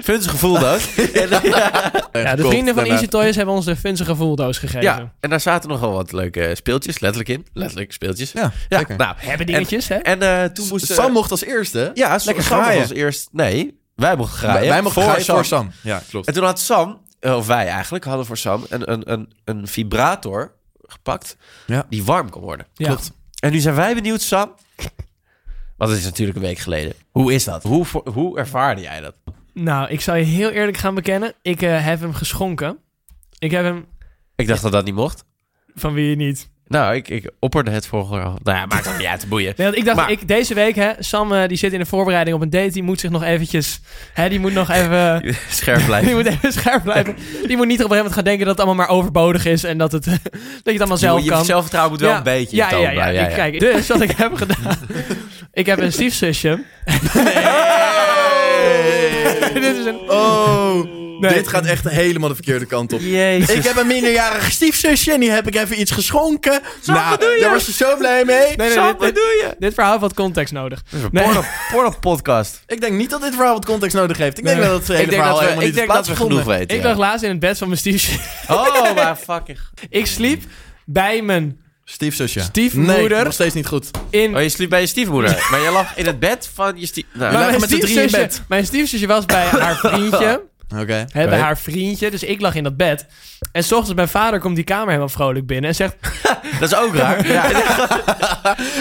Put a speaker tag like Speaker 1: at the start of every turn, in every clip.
Speaker 1: Funzige voeldoos. en, eh, ja.
Speaker 2: Ja, de vrienden van Easy Toys hebben ons de funzige voeldoos gegeven.
Speaker 1: ja, en daar zaten nogal wat leuke speeltjes, letterlijk in. Letterlijk speeltjes.
Speaker 3: Ja, lekker.
Speaker 1: nou.
Speaker 2: Hebben dingetjes, hè?
Speaker 1: En eh, toen moesten...
Speaker 3: Sam mocht als eerste.
Speaker 1: Ja, lekker Sam
Speaker 3: graaien.
Speaker 1: was als eerst... Nee, wij mochten graaien.
Speaker 3: wij, wij mochten graaien voor Sam. Ja,
Speaker 1: En
Speaker 3: klopt.
Speaker 1: toen had Sam, eh, of wij eigenlijk, hadden voor Sam een, een, een, een vibrator gepakt
Speaker 3: Ja.
Speaker 1: die warm kon worden.
Speaker 2: Ja.
Speaker 3: Klopt.
Speaker 1: En nu zijn wij benieuwd, Sam. Want het is natuurlijk een week geleden. Hoe is dat? Hoe, vo- hoe ervaarde jij dat?
Speaker 2: Nou, ik zal je heel eerlijk gaan bekennen. Ik eh, heb hem geschonken. Ik heb hem...
Speaker 1: Ik dacht dat dat niet mocht.
Speaker 2: Van wie niet?
Speaker 1: Nou, ik, ik opperde het vorige jaar. al. Nou ja, maakt het niet uit, boeien.
Speaker 2: Nee, want ik dacht,
Speaker 1: Maar-
Speaker 2: ik, deze week, hè, Sam eh, die zit in de voorbereiding op een date. Die moet zich nog eventjes... Hè, die moet nog even...
Speaker 1: Scherp
Speaker 2: Die
Speaker 1: blijven.
Speaker 2: moet even scherp blijven. Die moet niet op een gegeven moment gaan denken dat het allemaal maar overbodig is. En dat, het, dat je het allemaal zelf
Speaker 1: je
Speaker 2: kan.
Speaker 1: zelfvertrouwen moet wel een beetje in
Speaker 2: ja,
Speaker 1: toon
Speaker 2: ja, ja,
Speaker 1: blijven.
Speaker 2: ik- Kijk, dus wat ik heb gedaan... ik heb een stiefzusje. Dit is een...
Speaker 3: Oh,
Speaker 2: Nee.
Speaker 3: dit gaat echt helemaal de verkeerde kant op.
Speaker 1: Jezus.
Speaker 3: Ik heb een minderjarige stiefzusje en die heb ik even iets geschonken. nou, daar was ze zo blij mee.
Speaker 2: Nee, nee,
Speaker 1: Sam,
Speaker 2: dit-
Speaker 1: wat doe je?
Speaker 2: Dit verhaal heeft wat context nodig.
Speaker 1: Dit is een
Speaker 2: Nee.
Speaker 1: porno, porno podcast.
Speaker 3: Ik denk niet dat dit verhaal wat context nodig heeft. Ik denk
Speaker 2: Nee.
Speaker 3: wel dat het hele
Speaker 1: ik denk
Speaker 3: verhaal
Speaker 1: dat we,
Speaker 3: helemaal
Speaker 1: ik
Speaker 3: niet
Speaker 1: denk
Speaker 3: is
Speaker 1: dat we genoeg
Speaker 3: plaatsgevonden.
Speaker 1: weten.
Speaker 2: Ik
Speaker 1: ja.
Speaker 2: lag laatst in het bed van mijn stiefzusje.
Speaker 1: Oh, maar fucking...
Speaker 2: Ik sliep bij mijn
Speaker 3: Stiefzusje. Nee,
Speaker 2: Stiefmoeder.
Speaker 3: nog steeds niet goed.
Speaker 2: in.
Speaker 1: Oh, je sliep bij je stiefmoeder. maar je lag in het bed van je stief... Nou,
Speaker 3: Maar- lagen
Speaker 2: mijn,
Speaker 3: met z'n drieën in
Speaker 2: stiefzusje,
Speaker 3: bed.
Speaker 2: mijn stiefzusje was bij haar
Speaker 1: Oh,
Speaker 2: vriendje.
Speaker 3: Oké.
Speaker 2: hè, bij haar vriendje. Dus ik lag in dat bed. En 's ochtends mijn vader komt die kamer helemaal vrolijk binnen. En zegt,
Speaker 1: dat is ook raar.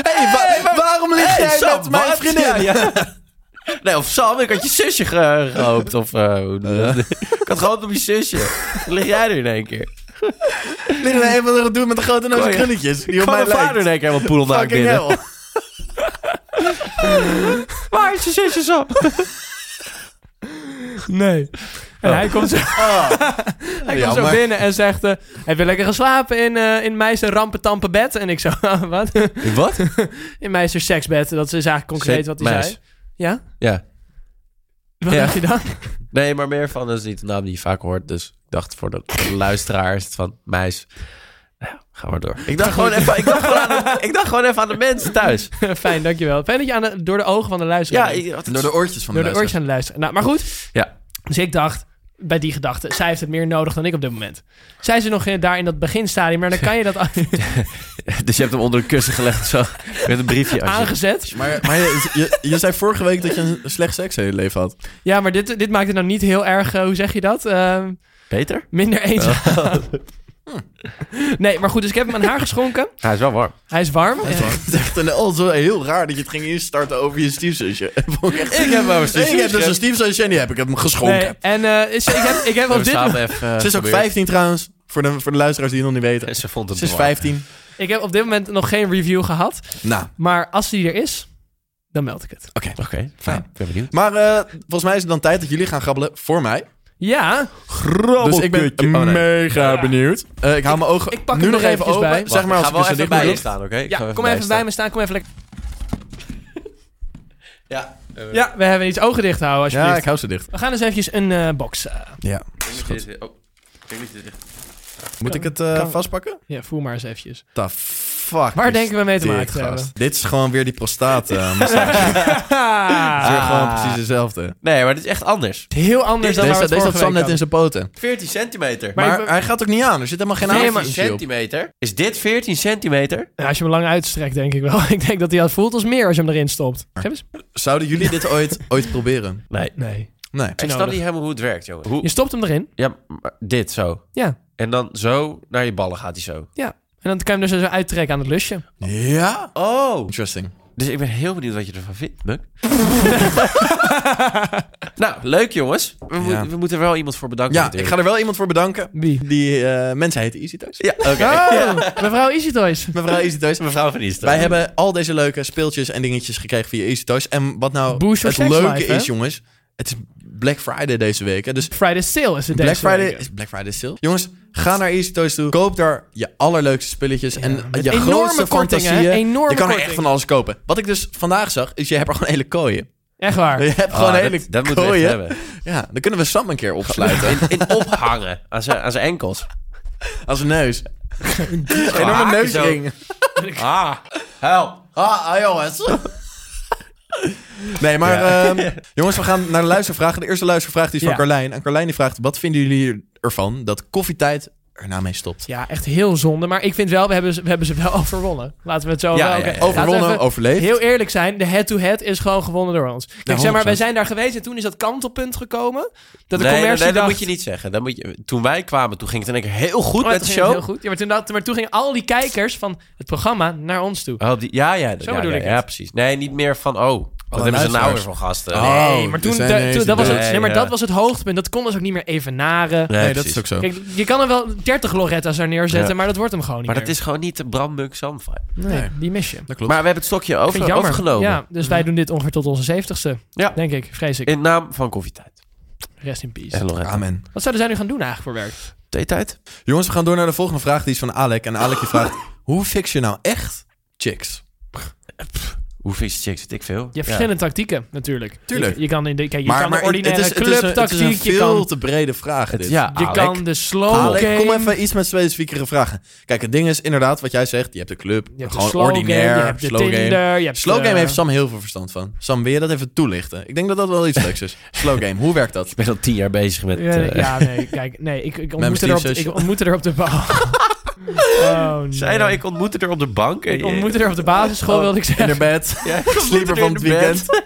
Speaker 3: Hey, wa- waarom ligt jij
Speaker 1: Sam,
Speaker 3: met mijn
Speaker 1: wat?
Speaker 3: vriendin?
Speaker 1: Ja, ja. Nee, of Sam, ik had je zusje ge- gehoopt. Of, eh, hoe noem je dat? Ik had gehoopt op je zusje. Dan lig jij er in één keer.
Speaker 3: Ligt er een van de doet met de grote neus en
Speaker 1: Kon je-
Speaker 3: krulletjes. Die op
Speaker 1: Kwam
Speaker 3: mij
Speaker 1: mijn vader
Speaker 3: lijkt.
Speaker 1: in één keer helemaal poedelnaak
Speaker 3: Fucking
Speaker 1: binnen.
Speaker 3: hell.
Speaker 1: Waar is je zusje Sam?
Speaker 2: nee.
Speaker 1: Oh.
Speaker 2: En hij komt zo, hij komt zo
Speaker 3: Ah. Jammer.
Speaker 2: binnen en zegt, eh, heb je lekker geslapen in, eh in meisje rampentampe bed? En ik zo, "Ah, wat?
Speaker 1: Wat?
Speaker 2: In meisje seksbed. Dat is eigenlijk concreet wat hij
Speaker 1: Meis.
Speaker 2: zei. Ja?
Speaker 1: Ja.
Speaker 2: Wat
Speaker 1: Ja.
Speaker 2: dacht je dan?
Speaker 1: Nee, maar meer van, dat is niet de naam die je vaak hoort. Dus ik dacht voor de luisteraars van meis... Nou, ga maar door. Ik dacht, gewoon even, ik, dacht gewoon aan de, ik dacht gewoon even aan de mensen thuis.
Speaker 2: Fijn, dankjewel. Fijn dat je aan de- door de ogen van de luisteraar
Speaker 1: Ja,
Speaker 2: bent.
Speaker 1: ik,
Speaker 3: Door de oortjes van
Speaker 2: Door de
Speaker 3: de
Speaker 2: oortjes aan het luisteren. Nou, maar goed.
Speaker 1: Ja.
Speaker 2: Dus ik dacht, bij die gedachte, zij heeft het meer nodig dan ik op dit moment. Zij zit nog in- daar in dat beginstadium, maar dan kan je dat
Speaker 1: Dus je hebt hem onder een kussen gelegd of zo. Met een briefje. als je-
Speaker 2: aangezet.
Speaker 3: Maar, maar je, je, je zei vorige week dat je een slecht seks in je leven had.
Speaker 2: Ja, maar dit, dit maakt het nou niet heel erg, eh, hoe zeg je dat? Ehm,
Speaker 1: Peter?
Speaker 2: minder eenzaam. Nee, maar goed, dus ik heb hem aan haar geschonken.
Speaker 1: Hij is wel warm.
Speaker 2: Hij is warm. Eh,
Speaker 3: Het is echt een, oh, zo heel raar dat je het ging instarten over je stiefzusje. Vond ik echt-
Speaker 1: Ik heb wel een
Speaker 3: ik heb dus een stiefzusje en die heb ik hem geschonken.
Speaker 2: Nee, en eh, is, ik heb, ik heb op dit moment-
Speaker 3: Ze is ook 15 trouwens, voor de, voor de luisteraars die het nog niet weten.
Speaker 1: eh, Ze vond het
Speaker 3: Ze is
Speaker 1: warm.
Speaker 3: 15.
Speaker 2: Ik heb op dit moment nog geen review gehad.
Speaker 3: Nou,
Speaker 2: Maar als die er is, dan meld ik het.
Speaker 1: Oké, fijn. Ik ben benieuwd.
Speaker 3: maar eh, volgens mij is het dan tijd dat jullie gaan grabbelen voor mij.
Speaker 2: Ja,
Speaker 3: Dus ik ben
Speaker 1: Oh, nee.
Speaker 3: mega benieuwd. Eh, ik hou mijn ogen
Speaker 2: ik pak
Speaker 3: nu
Speaker 2: hem
Speaker 3: nog
Speaker 2: er
Speaker 3: even
Speaker 2: eventjes
Speaker 3: open.
Speaker 2: bij.
Speaker 3: Zeg maar als ik
Speaker 1: ik ga wel
Speaker 3: dus
Speaker 1: even
Speaker 3: dit
Speaker 1: bij
Speaker 3: moet
Speaker 1: je
Speaker 3: doen.
Speaker 1: staan, oké? Ik
Speaker 2: ja
Speaker 1: ga
Speaker 2: kom even bij me staan. Kom even lekker.
Speaker 1: Ja.
Speaker 2: Ja, we hebben iets ogen dicht houden, alsjeblieft.
Speaker 3: Ja, ik hou ze dicht.
Speaker 2: We gaan dus eventjes een eh, box. eh,
Speaker 3: Ja.
Speaker 1: oh,
Speaker 3: Moet ik het eh, vastpakken?
Speaker 2: ja, voel maar eens eventjes.
Speaker 3: The fuck.
Speaker 2: Waar
Speaker 3: is
Speaker 2: denken we mee te
Speaker 3: dit,
Speaker 2: maken te
Speaker 3: gast?
Speaker 2: hebben?
Speaker 3: Dit is gewoon weer die prostaat. eh, massage. Het is weer gewoon precies hetzelfde.
Speaker 1: Nee, maar dit is echt anders.
Speaker 2: Heel anders dan
Speaker 3: Deze,
Speaker 2: waar we
Speaker 3: deze had
Speaker 2: het vorige
Speaker 3: Sam
Speaker 2: week
Speaker 3: net in zijn poten.
Speaker 1: 14 centimeter.
Speaker 2: Maar
Speaker 3: Maar,
Speaker 2: ik-
Speaker 3: hij gaat ook niet aan. Er zit helemaal geen
Speaker 2: Nee,
Speaker 3: nee,
Speaker 2: maar-
Speaker 3: op.
Speaker 1: centimeter? Is dit 14 centimeter?
Speaker 2: hadden. Als je hem lang uitstrekt, denk ik wel. ik denk dat hij dat voelt als meer als je hem erin stopt. Geef eens.
Speaker 3: Zouden jullie dit ooit, ooit proberen?
Speaker 1: Nee.
Speaker 2: Nee.
Speaker 3: Nee.
Speaker 1: Ik snap
Speaker 2: nodig.
Speaker 1: niet helemaal hoe het werkt, jongen.
Speaker 2: Je
Speaker 1: Hoe,
Speaker 2: stopt hem erin.
Speaker 1: ja, maar dit zo.
Speaker 2: Ja.
Speaker 1: En dan zo naar je ballen gaat hij zo.
Speaker 2: Ja. En dan kan je hem dus zo uittrekken aan het lusje.
Speaker 3: Ja?
Speaker 1: Oh.
Speaker 3: Interesting.
Speaker 1: Dus ik ben heel benieuwd wat je ervan vindt, Muk. nou, leuk jongens. We, mo-
Speaker 3: Ja.
Speaker 1: we moeten er wel iemand voor bedanken.
Speaker 3: Ja, ik
Speaker 1: natuurlijk.
Speaker 3: ga er wel iemand voor bedanken.
Speaker 2: Wie?
Speaker 3: Die eh mensen heten Easy Toys.
Speaker 1: Ja, oké.
Speaker 2: Oh, mevrouw Easy Toys.
Speaker 3: Mevrouw Easy Toys.
Speaker 1: Mevrouw van Isten.
Speaker 3: Wij hebben al deze leuke speeltjes en dingetjes gekregen via Easy Toys. En wat nou
Speaker 2: Boost your
Speaker 3: het
Speaker 2: sex
Speaker 3: leuke
Speaker 2: life, hè?
Speaker 3: is, jongens. Het is Black Friday deze week. Hè? Dus
Speaker 2: Friday Sale is het
Speaker 3: Black
Speaker 2: deze
Speaker 3: Friday
Speaker 2: week.
Speaker 3: is Black Friday sale. Jongens, ga naar Easy Toys toe. Koop daar je allerleukste spulletjes en
Speaker 2: met
Speaker 3: je
Speaker 2: enorme
Speaker 3: grootste
Speaker 2: kortingen, hè?
Speaker 3: fantasieën.
Speaker 2: Enorme
Speaker 3: je kan er echt
Speaker 2: korting.
Speaker 3: van alles kopen. Wat ik dus vandaag zag, is je hebt er gewoon hele kooien.
Speaker 2: Echt waar.
Speaker 3: Je hebt
Speaker 1: Ah,
Speaker 3: gewoon hele
Speaker 1: dat, dat moeten we echt
Speaker 3: kooien.
Speaker 1: hebben.
Speaker 3: ja, dan kunnen we Sam een keer opsluiten.
Speaker 1: In, in ophangen aan zijn, aan zijn enkels.
Speaker 3: Als een neus. Een enorme
Speaker 1: haken
Speaker 3: neusring.
Speaker 1: Ah, help.
Speaker 3: Ah, ah, jongens. Nee, maar ehm, jongens, we gaan naar de luistervragen. De eerste luistervraag die is van
Speaker 2: Ja.
Speaker 3: Carlijn. En Carlijn die vraagt, wat vinden jullie ervan dat koffietijd erna mee stopt?
Speaker 2: Ja, echt heel zonde. Maar ik vind wel, we hebben ze, we hebben ze wel overwonnen. Laten we het zo
Speaker 1: Ja,
Speaker 2: wel.
Speaker 1: ja,
Speaker 2: oké.
Speaker 1: ja, ja.
Speaker 2: Laten we
Speaker 3: Overwonnen,
Speaker 2: even
Speaker 3: overleefd.
Speaker 2: Heel eerlijk zijn, de head-to-head is gewoon gewonnen door ons. Kijk, zeg maar,
Speaker 3: 100%.
Speaker 2: wij zijn daar geweest en toen is dat kantelpunt gekomen. Dat de
Speaker 1: nee, nee,
Speaker 2: commercie
Speaker 1: nee, dat
Speaker 2: dacht,
Speaker 1: moet je niet zeggen. Dat moet je, toen wij kwamen, toen ging het in één keer heel goed
Speaker 2: Oh,
Speaker 1: met
Speaker 2: toen
Speaker 1: de
Speaker 2: ging het
Speaker 1: show.
Speaker 2: heel goed. Ja, maar, toen, dat- maar toen gingen al die kijkers van het programma naar ons toe.
Speaker 1: Oh, die, ja, ja, dat-
Speaker 2: Zo
Speaker 1: ja,
Speaker 2: bedoel
Speaker 1: ja,
Speaker 2: ik
Speaker 1: ja,
Speaker 2: het.
Speaker 1: precies. Nee, niet meer van, oh, wat hebben ze nou weer
Speaker 3: luisteraars.
Speaker 1: voor gasten?
Speaker 3: Oh,
Speaker 2: Nee, maar
Speaker 3: er
Speaker 2: toen,
Speaker 3: zijn
Speaker 2: da-
Speaker 3: ineens
Speaker 2: toen- dat, was het,
Speaker 1: nee,
Speaker 2: nee, maar
Speaker 1: ja.
Speaker 2: dat was het hoogtepunt. Dat kon dus ook niet meer evenaren.
Speaker 1: Nee,
Speaker 3: Nee, dat
Speaker 1: precies.
Speaker 3: is ook zo.
Speaker 2: Kijk, je kan er wel 30 Loretta's daar neerzetten,
Speaker 1: Ja.
Speaker 2: maar dat wordt hem gewoon niet
Speaker 1: Maar dat
Speaker 2: meer.
Speaker 1: is gewoon niet de Bram Muk Sam vibe.
Speaker 2: nee,
Speaker 3: Nee.
Speaker 2: die mis je.
Speaker 3: Dat klopt.
Speaker 1: Maar we hebben het stokje
Speaker 2: Ik vind het
Speaker 1: over,
Speaker 2: jammer.
Speaker 1: overgenomen.
Speaker 2: Ja, dus wij doen dit ongeveer tot onze zeventigste.
Speaker 1: Ja.
Speaker 2: Denk ik, vrees ik.
Speaker 1: In naam van koffietijd.
Speaker 2: Rest in peace.
Speaker 1: En Loretta.
Speaker 3: Amen.
Speaker 2: Wat zouden zij nu gaan doen eigenlijk voor werk?
Speaker 1: Theetijd?
Speaker 3: Jongens, we gaan door naar de volgende vraag. Die is van Alec. En Alec die vraagt, hoe fix je nou echt chicks?
Speaker 1: Hoe vies chicks? Weet ik veel.
Speaker 2: Je hebt verschillende tactieken natuurlijk.
Speaker 3: Tuurlijk.
Speaker 2: Je, je kan in de, kijk, je kan de ordinaire
Speaker 3: het is, het is een
Speaker 2: clubtactiek, je
Speaker 3: veel
Speaker 2: kan,
Speaker 3: te brede vraag dit.
Speaker 1: Het, ja,
Speaker 2: je
Speaker 1: Alec.
Speaker 2: kan de slow
Speaker 3: Alec,
Speaker 2: game.
Speaker 3: kom even iets met specifiekere vragen. Kijk, het ding is inderdaad wat jij zegt. Je hebt de club,
Speaker 2: Je hebt de
Speaker 3: gewoon
Speaker 2: slow game,
Speaker 3: ordinair,
Speaker 2: je hebt de
Speaker 3: slow
Speaker 2: Tinder,
Speaker 3: game.
Speaker 2: je hebt eh,
Speaker 3: Slow
Speaker 2: de-
Speaker 3: game heeft Sam heel veel verstand van. Sam, wil je dat even toelichten? Ik denk dat dat wel iets leuks is. Slow game, hoe werkt dat?
Speaker 1: Ik ben al tien jaar bezig met...
Speaker 2: Ja,
Speaker 1: eh,
Speaker 2: ja, nee, kijk, nee, ik, ik, ontmoette
Speaker 3: mijn
Speaker 2: er op,
Speaker 3: stiefzusje.
Speaker 2: ik ontmoette er op de bal. Oh, nee.
Speaker 1: Zei nou, ik ontmoette er op de bank.
Speaker 2: Ik ontmoette er op de basisschool, wilde ik
Speaker 3: In
Speaker 2: zeggen.
Speaker 3: de bed,
Speaker 1: Ja, ik
Speaker 3: slieper
Speaker 1: ontmoette
Speaker 3: van
Speaker 1: er
Speaker 3: het
Speaker 1: in de
Speaker 3: weekend.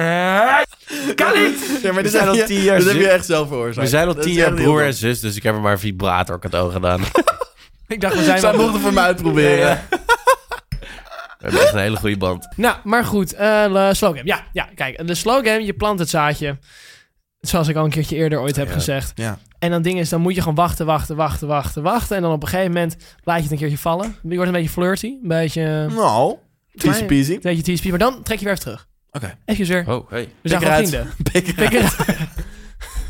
Speaker 1: bed. Kan niet!
Speaker 3: Ja, maar
Speaker 1: We zijn
Speaker 3: heb
Speaker 1: al
Speaker 3: je-
Speaker 1: tien jaar
Speaker 3: Dit heb je
Speaker 1: zus.
Speaker 3: echt zelf veroorzaakt.
Speaker 1: We zijn al tien
Speaker 3: jaar
Speaker 1: jaar broer en zus, dus ik heb er maar een vibrator cadeau gedaan. We
Speaker 2: Ik dacht, we zijn
Speaker 3: Zij
Speaker 2: wel...
Speaker 3: mocht het voor mij uitproberen.
Speaker 1: hebben echt een hele goede band.
Speaker 2: Nou, maar goed, eh de slow game. Ja, ja, kijk, de slow game, je plant het zaadje. Zoals ik al een keertje eerder ooit heb
Speaker 1: Ja.
Speaker 2: gezegd.
Speaker 3: Ja.
Speaker 2: En dan ding is, dan moet je gewoon wachten, wachten, wachten, wachten, wachten. En dan op een gegeven moment laat je het een keertje vallen. Je wordt een beetje flirty, een beetje...
Speaker 3: Nou, easy peasy.
Speaker 2: Een beetje TSP, maar dan trek je weer even terug.
Speaker 3: Oké.
Speaker 2: Even weer.
Speaker 1: Oh, hey.
Speaker 2: We zijn
Speaker 3: Pik
Speaker 2: gewoon
Speaker 3: eruit.
Speaker 2: vrienden.
Speaker 3: Pik eruit.
Speaker 2: Pik eruit.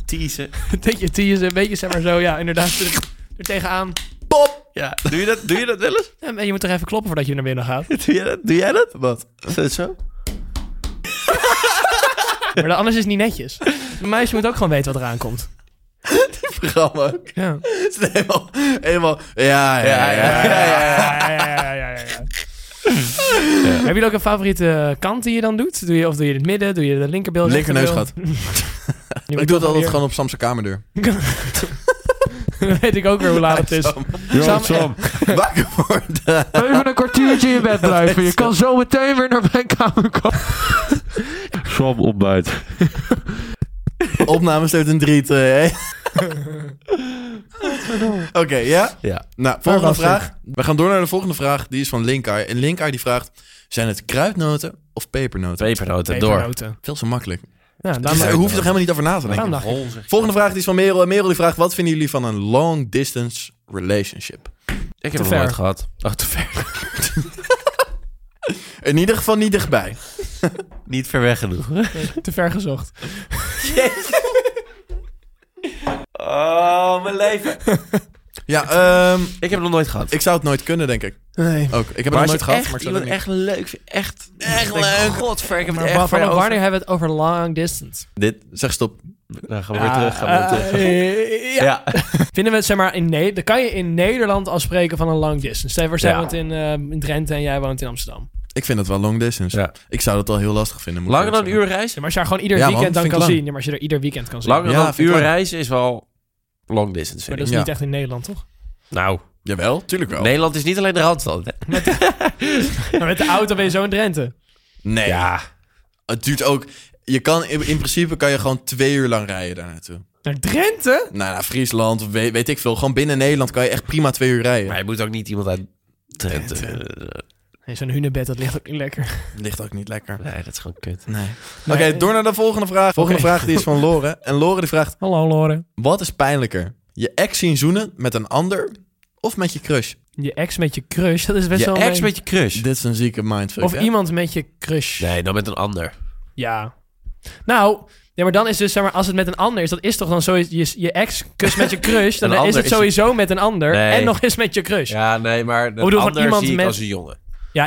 Speaker 1: Teasen.
Speaker 2: Een beetje teasen, een beetje zeg maar zo. Ja, inderdaad. Er, er tegenaan.
Speaker 3: Pop!
Speaker 1: Ja, doe je dat, doe je dat wel eens?
Speaker 2: En je moet er even kloppen voordat je naar binnen gaat.
Speaker 1: Doe jij dat? Doe jij dat? Wat? Is dat zo?
Speaker 2: Maar dan- anders is het niet netjes. Een meisje moet ook gewoon weten wat eraan komt.
Speaker 3: Programma ook.
Speaker 2: Ja.
Speaker 3: Het is helemaal, helemaal... Ja, ja, ja. ja,
Speaker 2: ja, ja, ja, ja, ja, ja. Heb je dan ook een favoriete kant die je dan doet? Doe je, of doe je het midden? Doe je de linkerbeeld?
Speaker 3: Linker
Speaker 2: rechterbeeld? Je moet
Speaker 3: Ik doe het
Speaker 2: toch
Speaker 3: altijd
Speaker 2: weer-
Speaker 3: gewoon op Sam's kamerduur.
Speaker 2: Dan weet ik ook weer hoe laat het is. Sam,
Speaker 3: Wakker worden.
Speaker 2: Even een kwartiertje in bed blijven. Je kan zo meteen weer naar mijn kamer komen.
Speaker 4: Sam ontbijt.
Speaker 3: Opname sleurt een 3, 2, Oké, ja?
Speaker 1: Ja.
Speaker 3: Nou, volgende
Speaker 4: Volgende
Speaker 3: vraag. We gaan door naar de volgende vraag. Die is van Linkar. En Linkar die vraagt, zijn het kruidnoten of pepernoten?
Speaker 1: Twee
Speaker 2: Twee
Speaker 1: penoten door.
Speaker 2: pepernoten.
Speaker 3: Veel zo makkelijk.
Speaker 2: Ja,
Speaker 3: Dus daar
Speaker 2: daarom,
Speaker 3: hoef je toch helemaal niet over na te denken.
Speaker 1: Nou,
Speaker 2: daarom dacht ik.
Speaker 3: Volgende vraag die is van Merel. En Merel die vraagt, wat vinden jullie van een long distance relationship?
Speaker 1: Ik
Speaker 2: Te
Speaker 1: heb het
Speaker 2: ver.
Speaker 1: nooit gehad. Oh, te ver.
Speaker 3: In ieder geval niet dichtbij.
Speaker 1: Niet ver weg genoeg.
Speaker 2: Te ver gezocht.
Speaker 1: Oh, mijn leven.
Speaker 3: Ja, ehm,
Speaker 1: Ik heb het nog nooit gehad.
Speaker 3: ik zou het nooit kunnen, denk ik.
Speaker 2: Nee.
Speaker 3: Ook. Ik heb het nog nooit gehad, maar ik zou het ook niet.
Speaker 1: echt leuk vindt, echt...
Speaker 3: Echt leuk.
Speaker 1: Godver, ik heb het
Speaker 2: Maar
Speaker 1: echt
Speaker 2: wa-
Speaker 1: voor
Speaker 2: vanaf
Speaker 1: jou
Speaker 2: wanneer hebben we het over long distance?
Speaker 3: Dit, zeg stop.
Speaker 1: over. Nou, gaan we weer terug, gaan we weer terug.
Speaker 2: Ah, Eh, ja.
Speaker 1: Ja.
Speaker 2: Vinden we het, zeg maar, in Nederland... Dan kan je in Nederland al spreken van een long distance. Stel je voor, zij
Speaker 1: Ja.
Speaker 2: woont in, eh, in Drenthe en jij woont in Amsterdam.
Speaker 3: Ik vind het wel long distance.
Speaker 1: Ja.
Speaker 3: Ik zou dat wel heel lastig vinden. moet ik
Speaker 1: Langer dan een
Speaker 3: eerlijk
Speaker 1: uur
Speaker 2: Ja,
Speaker 1: reizen?
Speaker 2: maar als je haar gewoon ieder
Speaker 3: Ja, man,
Speaker 2: weekend
Speaker 3: dat
Speaker 2: dan
Speaker 3: vind
Speaker 2: kan
Speaker 3: ik lang.
Speaker 2: zien. Ja, maar als je er ieder weekend kan zien.
Speaker 1: Langer
Speaker 3: Ja,
Speaker 1: dan
Speaker 3: vind
Speaker 1: een
Speaker 3: ik
Speaker 1: uur
Speaker 3: wel.
Speaker 1: reizen is wel long distance,
Speaker 2: maar dat
Speaker 1: vind ik.
Speaker 2: is
Speaker 3: Ja.
Speaker 2: niet echt in Nederland, toch?
Speaker 1: Nou,
Speaker 3: zeggen. Jawel, tuurlijk wel.
Speaker 1: Nederland is niet alleen de Randstad. hè?
Speaker 2: Maar met de auto ben je zo in Drenthe.
Speaker 3: Nee.
Speaker 1: Ja.
Speaker 3: Het duurt ook... Je kan, in in principe kan je gewoon twee uur lang rijden daar naartoe.
Speaker 2: Naar Drenthe?
Speaker 3: Nou, naar Friesland, we- weet, ik veel. Gewoon binnen Nederland kan je echt prima twee uur rijden.
Speaker 1: Maar je moet ook niet iemand uit Drenthe... eh,
Speaker 2: Nee, zo'n hunebed, dat ligt ook niet lekker.
Speaker 3: Ligt ook niet lekker.
Speaker 1: Nee, dat is gewoon kut.
Speaker 3: Nee. Oké, door naar de volgende vraag. Volgende vraag die is van Lore. En Lore die vraagt,
Speaker 2: Hallo, Loren.
Speaker 3: wat is pijnlijker? Je ex zien zoenen met een ander of met je crush?
Speaker 2: Je ex met je crush, dat is best
Speaker 1: Je
Speaker 2: wel...
Speaker 1: ex
Speaker 2: een-
Speaker 1: met je crush?
Speaker 3: Dit is een zieke mindfuck,
Speaker 2: Of
Speaker 3: hè?
Speaker 2: iemand met je crush.
Speaker 1: Nee, dan met een ander.
Speaker 2: Ja. Nou, ja, maar dan is dus, zeg maar, als het met een ander is, dat is toch dan zo, je, je ex kust met je crush, dan
Speaker 1: Een
Speaker 2: is
Speaker 1: ander
Speaker 2: het
Speaker 1: is-
Speaker 2: sowieso met een ander
Speaker 1: Nee.
Speaker 2: en nog eens met je crush. Ja.
Speaker 1: Ja, nee, maar een
Speaker 2: bedoel, van
Speaker 1: ander
Speaker 2: iemand
Speaker 1: zie ik
Speaker 2: met-
Speaker 1: als een jongen.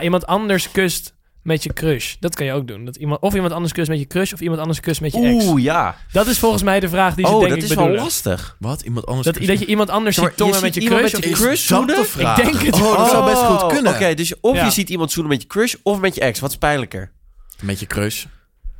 Speaker 2: iemand anders kust met je crush. Dat kan je ook doen. Dat iemand, of iemand anders kust met je crush, of iemand anders kust met je ex.
Speaker 1: Oeh, ja.
Speaker 2: Dat is volgens mij de vraag die ze
Speaker 1: oh,
Speaker 2: denk
Speaker 1: dat
Speaker 2: ik
Speaker 1: is
Speaker 2: bedoelen.
Speaker 1: wel lastig.
Speaker 3: Wat? Iemand anders
Speaker 2: dat, dat je iemand anders
Speaker 1: Zeg maar,
Speaker 2: ziet tongen
Speaker 1: je
Speaker 2: met je
Speaker 1: ziet iemand
Speaker 2: crush.
Speaker 1: met
Speaker 2: of-
Speaker 1: je crush zoenen?
Speaker 3: vraag?
Speaker 2: Ik denk het
Speaker 3: Oh, dat
Speaker 2: wel.
Speaker 3: zou best goed kunnen.
Speaker 1: Oké, dus of
Speaker 2: Ja.
Speaker 1: je ziet iemand zoenen met je crush of met je ex. Wat is pijnlijker?
Speaker 3: Met je crush.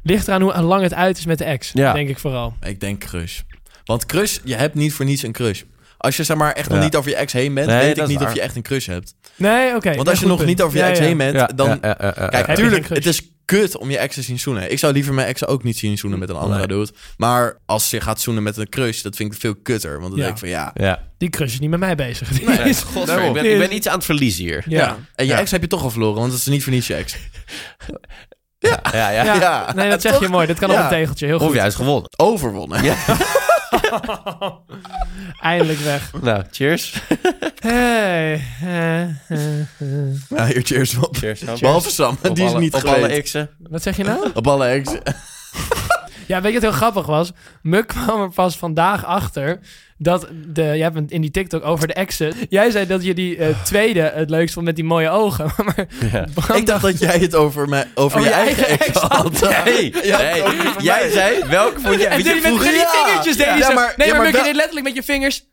Speaker 2: Ligt eraan hoe lang het uit is met de ex,
Speaker 1: Ja.
Speaker 2: denk ik vooral.
Speaker 3: Ik denk crush. Want crush, je hebt niet voor niets een crush. Als je zeg maar echt nog
Speaker 1: Ja.
Speaker 3: niet over je ex heen bent,
Speaker 1: Nee,
Speaker 3: weet
Speaker 1: dat
Speaker 3: ik
Speaker 1: is
Speaker 3: niet of
Speaker 1: waar.
Speaker 3: je echt een crush hebt.
Speaker 2: Nee, oké.
Speaker 3: Want als je nog niet over je ex heen bent, dan... Kijk,
Speaker 2: Heb je
Speaker 3: tuurlijk,
Speaker 2: geen
Speaker 3: het
Speaker 2: crush?
Speaker 3: is kut om je ex te zien zoenen. Ik zou liever mijn ex ook niet zien zoenen met een andere
Speaker 1: Nee.
Speaker 3: dude. Maar als je gaat zoenen met een crush, dat vind ik veel kutter. Want dan
Speaker 2: Ja.
Speaker 3: denk ik van, ja...
Speaker 1: ja.
Speaker 2: Die crush is niet met mij bezig. Die
Speaker 1: Nee,
Speaker 2: is-
Speaker 1: Godver, ik, ben, ik ben iets aan het verliezen hier.
Speaker 3: Ja.
Speaker 2: Ja.
Speaker 3: En je
Speaker 1: Ja.
Speaker 3: ex heb je toch al verloren, want dat is niet voor niets je ex.
Speaker 1: Ja, ja.
Speaker 2: Ja.
Speaker 3: Ja.
Speaker 2: Nee, dat zeg je
Speaker 3: Toch?
Speaker 2: mooi. Dat kan op
Speaker 3: Ja.
Speaker 2: een tegeltje. Heel
Speaker 1: Of
Speaker 2: goed.
Speaker 1: juist gewonnen.
Speaker 3: Overwonnen.
Speaker 2: Eindelijk weg.
Speaker 1: Nou, cheers.
Speaker 2: Hey, eh, eh, eh.
Speaker 3: Ja, hier cheers op.
Speaker 1: Cheers. nou,
Speaker 3: Behalve Sam, die is niet
Speaker 1: op
Speaker 3: geleend.
Speaker 1: alle exen.
Speaker 2: Wat zeg je nou?
Speaker 3: Op alle ex.
Speaker 2: Ja, weet je wat heel grappig was? Muk kwam er pas vandaag achter dat de... Jij hebt het in die TikTok over de exen. Jij zei dat je die eh, tweede het leukst vond met die mooie ogen. Maar
Speaker 1: Ja.
Speaker 2: Bram
Speaker 3: Ik dacht dat jij het over, mij, over
Speaker 2: Oh,
Speaker 3: je,
Speaker 2: je
Speaker 3: eigen
Speaker 2: eigen
Speaker 3: ex had.
Speaker 1: Nee, nee. jij zei, welke vond jij?
Speaker 2: En
Speaker 1: Weet je,
Speaker 2: deed je met, met
Speaker 3: vroeg-
Speaker 2: die
Speaker 3: Ja.
Speaker 2: vingertjes deed
Speaker 3: Ja.
Speaker 2: je
Speaker 3: Ja,
Speaker 2: zo.
Speaker 3: maar-
Speaker 2: nee,
Speaker 3: ja,
Speaker 2: maar,
Speaker 3: maar da-
Speaker 2: Muk, je deed letterlijk met je vingers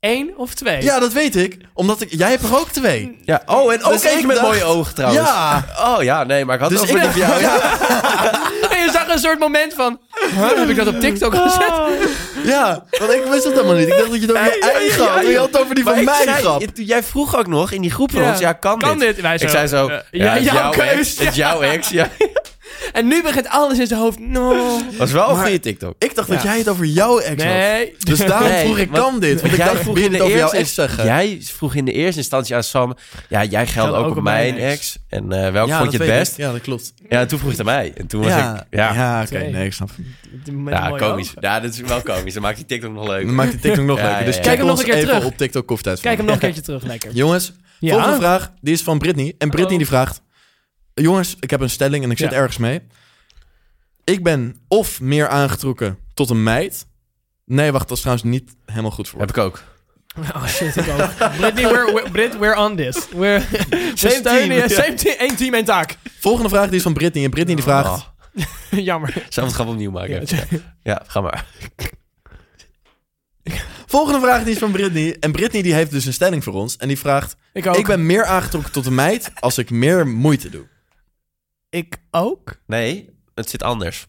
Speaker 2: één of twee.
Speaker 3: Ja, dat weet ik. Omdat ik, jij hebt er ook twee.
Speaker 1: ja. Oh, en ook
Speaker 3: Dus ik
Speaker 1: eentje met
Speaker 3: dacht-
Speaker 1: mooie ogen trouwens.
Speaker 3: Ja.
Speaker 1: Oh ja, nee, maar ik had
Speaker 3: Dus
Speaker 1: het
Speaker 3: ik dacht,
Speaker 1: over...
Speaker 3: ja, ja,
Speaker 2: En je zag een soort moment van... huh, heb ik dat op TikTok gezet?
Speaker 3: ja, want ik wist het helemaal niet. Ik dacht dat je het over je
Speaker 1: Nee,
Speaker 3: eigen
Speaker 1: ja, ja,
Speaker 3: had. maar Je had het over die
Speaker 1: Maar
Speaker 3: van
Speaker 1: ik
Speaker 3: mij
Speaker 1: zei-
Speaker 3: grap.
Speaker 1: je- Jij vroeg ook nog in die groep van
Speaker 2: Ja.
Speaker 1: ons, ja, kan,
Speaker 2: Kan
Speaker 1: dit?
Speaker 2: dit? Wij zo,
Speaker 1: ik zei zo,
Speaker 2: eh, ja,
Speaker 1: ja, het is
Speaker 2: jouw
Speaker 1: jouw
Speaker 2: keus.
Speaker 1: ex, het is jouw ex. Ja.
Speaker 2: En nu begint alles in zijn hoofd. No.
Speaker 1: was wel een goede TikTok.
Speaker 3: Ik dacht dat jij het over jouw ex had.
Speaker 2: Nee.
Speaker 3: Dus daarom
Speaker 1: Nee,
Speaker 3: vroeg ik,
Speaker 1: want-
Speaker 3: kan dit? Want ik
Speaker 1: jij
Speaker 3: dacht,
Speaker 1: vroeg
Speaker 3: wil je
Speaker 1: in
Speaker 3: het
Speaker 1: de
Speaker 3: over jouw
Speaker 1: eerste-
Speaker 3: ex zeggen?
Speaker 1: Jij vroeg in de eerste instantie aan Sam, ja, jij geldt ook, op mijn ex. En eh welke vond je
Speaker 3: dat
Speaker 1: het
Speaker 3: weet
Speaker 1: best?
Speaker 3: ik. Ja, dat klopt.
Speaker 1: Ja, en toen vroeg het aan mij. En toen was ik, ja,
Speaker 3: ja.
Speaker 1: ja,
Speaker 3: oké.
Speaker 2: Twee.
Speaker 3: Nee, ik snap het.
Speaker 1: komisch. Ja, dat is wel komisch. Dan maakt die TikTok nog leuk.
Speaker 3: Dan maakt die TikTok nog
Speaker 1: Ja,
Speaker 3: leuker.
Speaker 1: ja,
Speaker 3: Dus
Speaker 1: ja.
Speaker 3: kijk
Speaker 2: Kijk hem
Speaker 3: ons
Speaker 2: nog een keer
Speaker 3: even
Speaker 2: terug.
Speaker 3: op TikTok koftijd.
Speaker 2: Kijk hem nog een keertje terug, lekker.
Speaker 3: Jongens,
Speaker 2: Ja.
Speaker 3: volgende vraag. Die is van Britney. En Britney
Speaker 2: Oh.
Speaker 3: die vraagt... Jongens, ik heb een stelling en ik zit
Speaker 2: Ja.
Speaker 3: ergens mee. Ik ben of meer aangetrokken tot een meid... Nee, wacht, dat is trouwens niet helemaal goed voor.
Speaker 1: Heb ik ook.
Speaker 2: Oh shit, ik ook. Britney, we're, we're- Brit, we're on this. We're, we
Speaker 3: Same
Speaker 2: steunen
Speaker 3: team.
Speaker 2: je, Same team, één team, één taak.
Speaker 3: Volgende vraag die is van Britney. En Britney die
Speaker 2: Ah.
Speaker 3: vraagt...
Speaker 1: Oh,
Speaker 2: Jammer. dus, eh,
Speaker 1: Zal ik het gewoon opnieuw maken? Ja, ga maar.
Speaker 3: Volgende vraag die is van Britney. En Britney die heeft dus een stelling voor ons. En die vraagt...
Speaker 2: Ik ook.
Speaker 3: Ik ben meer aangetrokken tot een meid als ik meer moeite doe.
Speaker 2: ik ook?
Speaker 1: Nee, het zit anders.